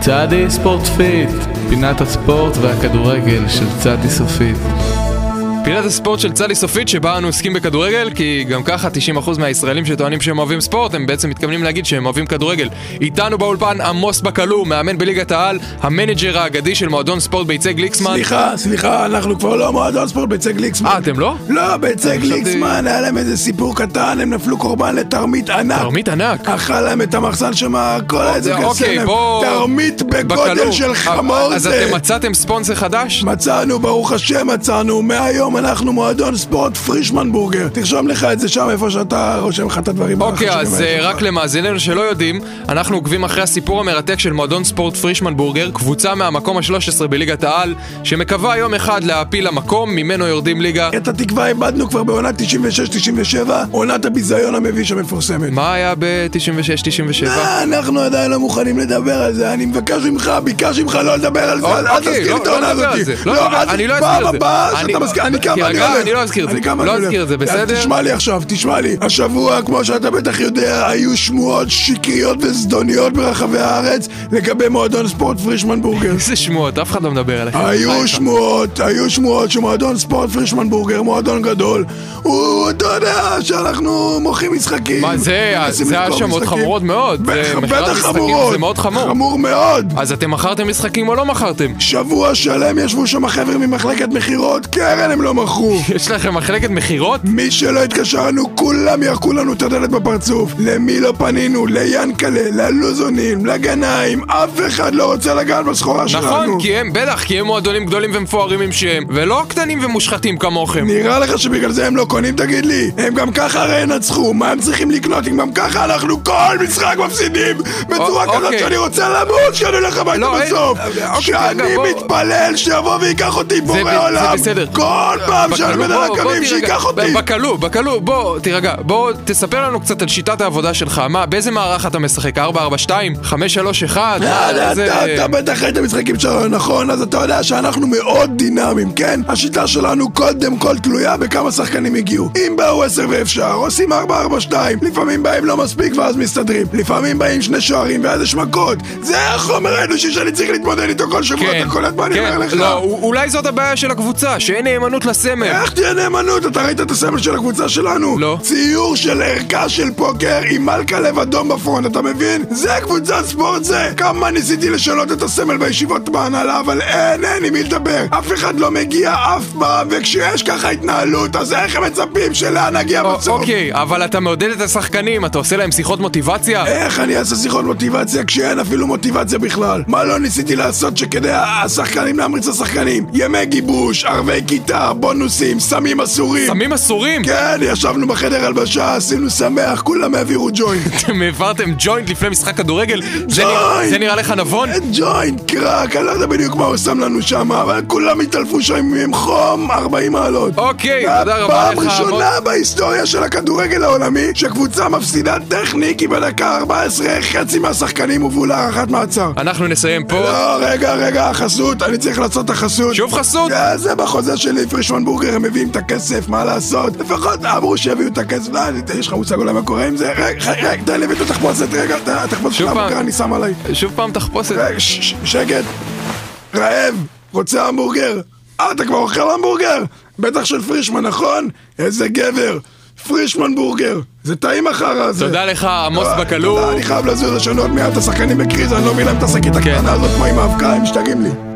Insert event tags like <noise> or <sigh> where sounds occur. צעדי ספורט פיט, פינת הספורט והכדורגל של צעדי סופית. פינת הספורט של צלי סופית שבה אנו עוסקים בכדורגל כי גם ככה 90% מהישראלים שטוענים שהם אוהבים ספורט הם בעצם מתכוונים להגיד שהם אוהבים כדורגל. איתנו באולפן עמוס בקלו, מאמן בליגת העל, המנג'ר האגדי של מועדון ספורט ביצי גליקסמן. סליחה, סליחה, אנחנו כבר לא מועדון ספורט ביצי גליקסמן. אה, אתם לא? לא, ביצי גליקסמן, היה להם איזה סיפור קטן, הם נפלו קורבן לתרמית ענק. תרמית ענק. אכל להם את המחסן שם, כל איזה אוקיי, קסם. בואו- תרמית בגודל בקלו. של אה, חמור אז זה. אתם מצאתם ספונסר חדש? מצאנו, ברוך השם מצאנו, מהיום אנחנו מועדון ספורט פרישמן בורגר. תרשום לך את זה שם איפה שאתה רושם לך את הדברים. אוקיי, החשובים אז האלה אה, שלך. רק למאזיננו שלא יודעים, אנחנו עוקבים אחרי הסיפור המרתק של מועדון ספורט פרישמן בורגר, קבוצה מהמקום ה-13 בליגת העל, שמקווה יום אחד להעפיל למקום, ממנו יורדים ליגה. את התקווה איבדנו כבר בעונת 96-97, עונת הביזיון המביש המפורסמת. מה היה ב-96-97? אה, אנחנו עדיין לא מוכנים לדבר על זה, אני מבקש ממך, ביקש ממך לא לדבר על זה, אל אל אוקיי, תזכיר לא- את לא העונה נדבר על הזאת. זה. לא נדבר- אל- אני לא פעם אזכיר את זה. הבאה אני- שאתה מזכיר, אני כמה, תירגע, אני הולך. אני לא אזכיר את זה. כמה, לא אני אזכיר את זה, הולך. אז בסדר? תשמע לי עכשיו, תשמע לי. השבוע, כמו שאתה בטח יודע, היו שמועות שקריות וזדוניות ברחבי הארץ לגבי מועדון ספורט פרישמן בורגר. איזה שמועות, אף אחד לא מדבר עליך. היו חיפה. שמועות, היו שמועות שמועדון ספורט פרישמן בורגר, מועדון גדול, הוא, אתה יודע, שאנחנו מוכרים משחקים. מה, זה- מנסים זה למכור האשמות משחקים. חמורות מאוד. זה בטח, מכירת בטח משחקים, חמורות. זה מאוד חמור. חמור מאוד. אז אתם מכרתם משחקים או לא מכרתם? שבוע שלם ישבו שם חבר'ה ממחלקת מכירות, קרן הם לא <laughs> מכרו. יש לכם מחלקת מכירות? מי שלא התקשרנו, כולם ירקו לנו את הדלת בפרצוף. למי לא פנינו? ליענקלה, ללוזונים, לגנאים, אף אחד לא רוצה לגעת בסחורה שלנו. נכון, כי הם, בטח, כי הם מועדונים גדולים ומפוארים עם שם, ולא קטנים ומושחתים כמוכם. נראה לך שבגלל זה הם לא קונים? תגיד לי. הם גם ככה הרי ינצחו, מה הם צריכים לקנות אם גם ככה אנחנו כל משחק מפסידים? בצורה א- כזאת אוקיי. שאני רוצה למות שאני הולך הביתה לא, אין- בסוף. אה, אוקיי, שאני רגע, בוא. מתפלל שיבוא וייקח אותי ב- זה בורא עולם. בסדר. כל פעם שאני בקלו, עומד על בוא, בוא, הקווים תירגע. שייקח אותי. בקלו, בקלו, בוא, תירגע. בוא, תספר לנו קצת על שיטת העבודה שלך. מה, באיזה מערך אתה משחק? 442? 531? אה, מה, אתה- איזה- אתה- אתה בטח ראית משחקים שלנו, נכון? אז אתה יודע שאנחנו מאוד דינמיים, כן? השיטה שלנו קודם כל תלויה בכמה שחקנים הגיעו. אם באו עשר ואפשר, עושים ארבע ארבע שתיים. לפעמים באים לא מספיק ואז מסתדרים. לפעמים באים שני שוערים ואז יש מכות. זה החומר האנושי שאני צריך להתמודד איתו כל שבוע, כן, אתה קולט מה אני כן, אומר לך? לא, א- אולי זאת הבעיה של הקבוצה, שאין נאמנות לסמל. איך תהיה נאמנות? אתה ראית את הסמל של הקבוצה שלנו? לא. ציור של ערכה של פוקר עם מלכה לב אדום בפרונט, אתה מבין? זה קבוצת ספורט זה! כמה ניסיתי לשנות את הסמל בישיבות בהנהלה, אבל אין, אין עם מי לדבר. אף אחד לא מגיע אף פעם, וכשיש ככה התנהלות, אז איך הם מצפים שלאן נגיע א- בסוף? אוקיי, אבל אתה מעודד את השחקנים, אתה עושה להם שיחות מוטיבציה? איך אני אעשה שיחות מוטיבציה כשאין אפילו מוטיבציה בכלל? מה לא ניסיתי לעשות שכדי השחקנים להמריץ לשחקנים? ימי גיבוש, ערבי כיתה, בונוסים, סמים אסורים. סמים אסורים? כן, ישבנו בחדר הלבשה, עשינו שמח, כולם העבירו ג'וינט. אתם העברתם ג'וינט לפני משחק כדורגל? זה נראה- ג'וינט! זה נראה לך נבון? ג'וינט, קרק, אני לא יודע בדיוק מה הוא שם לנו שם, אבל כולם התעלפו שם עם חום 40 מעלות. אוקיי, זה תודה רבה אה, פעם לך, ראשונה בהיסטוריה של הכדורגל העולמי שקבוצה מפסידה טכני כי בדקה 14 חצי מהשחקנים הובאו להארכת מעצר. אנחנו נסיים פה. לא, רגע, רגע, החסות, אני צריך לעשות את החסות. שוב חסות? אה, זה בחוזה שלי, פרישמן בורגר, הם מביאים את הכסף, מה לעשות? לפחות אמרו שיביאו את הכסף, לא, אני- יש לך מושג אולי מה קורה עם זה? רגע, רגע, רגע, תן לי את התחפושת, רגע, את התחפושת של שוב פעם. הבוקר אני שם עליי. שוב פעם תחפושת. רגע, ש- ש- שקט. רעב, רוצה המבורגר? אה, אתה כבר אוכל המבורגר? בטח של פרישמן, נכון? איזה גבר. פרישמן בורגר, זה טעים החרא הזה. תודה לך, עמוס אה, בקלו. תודה, אני חייב לזוז לשנות מיד את השחקנים בקריזה, אני לא מבין להם את השקית כן. הקטנה הזאת, מה עם האבקה, הם משתגעים לי.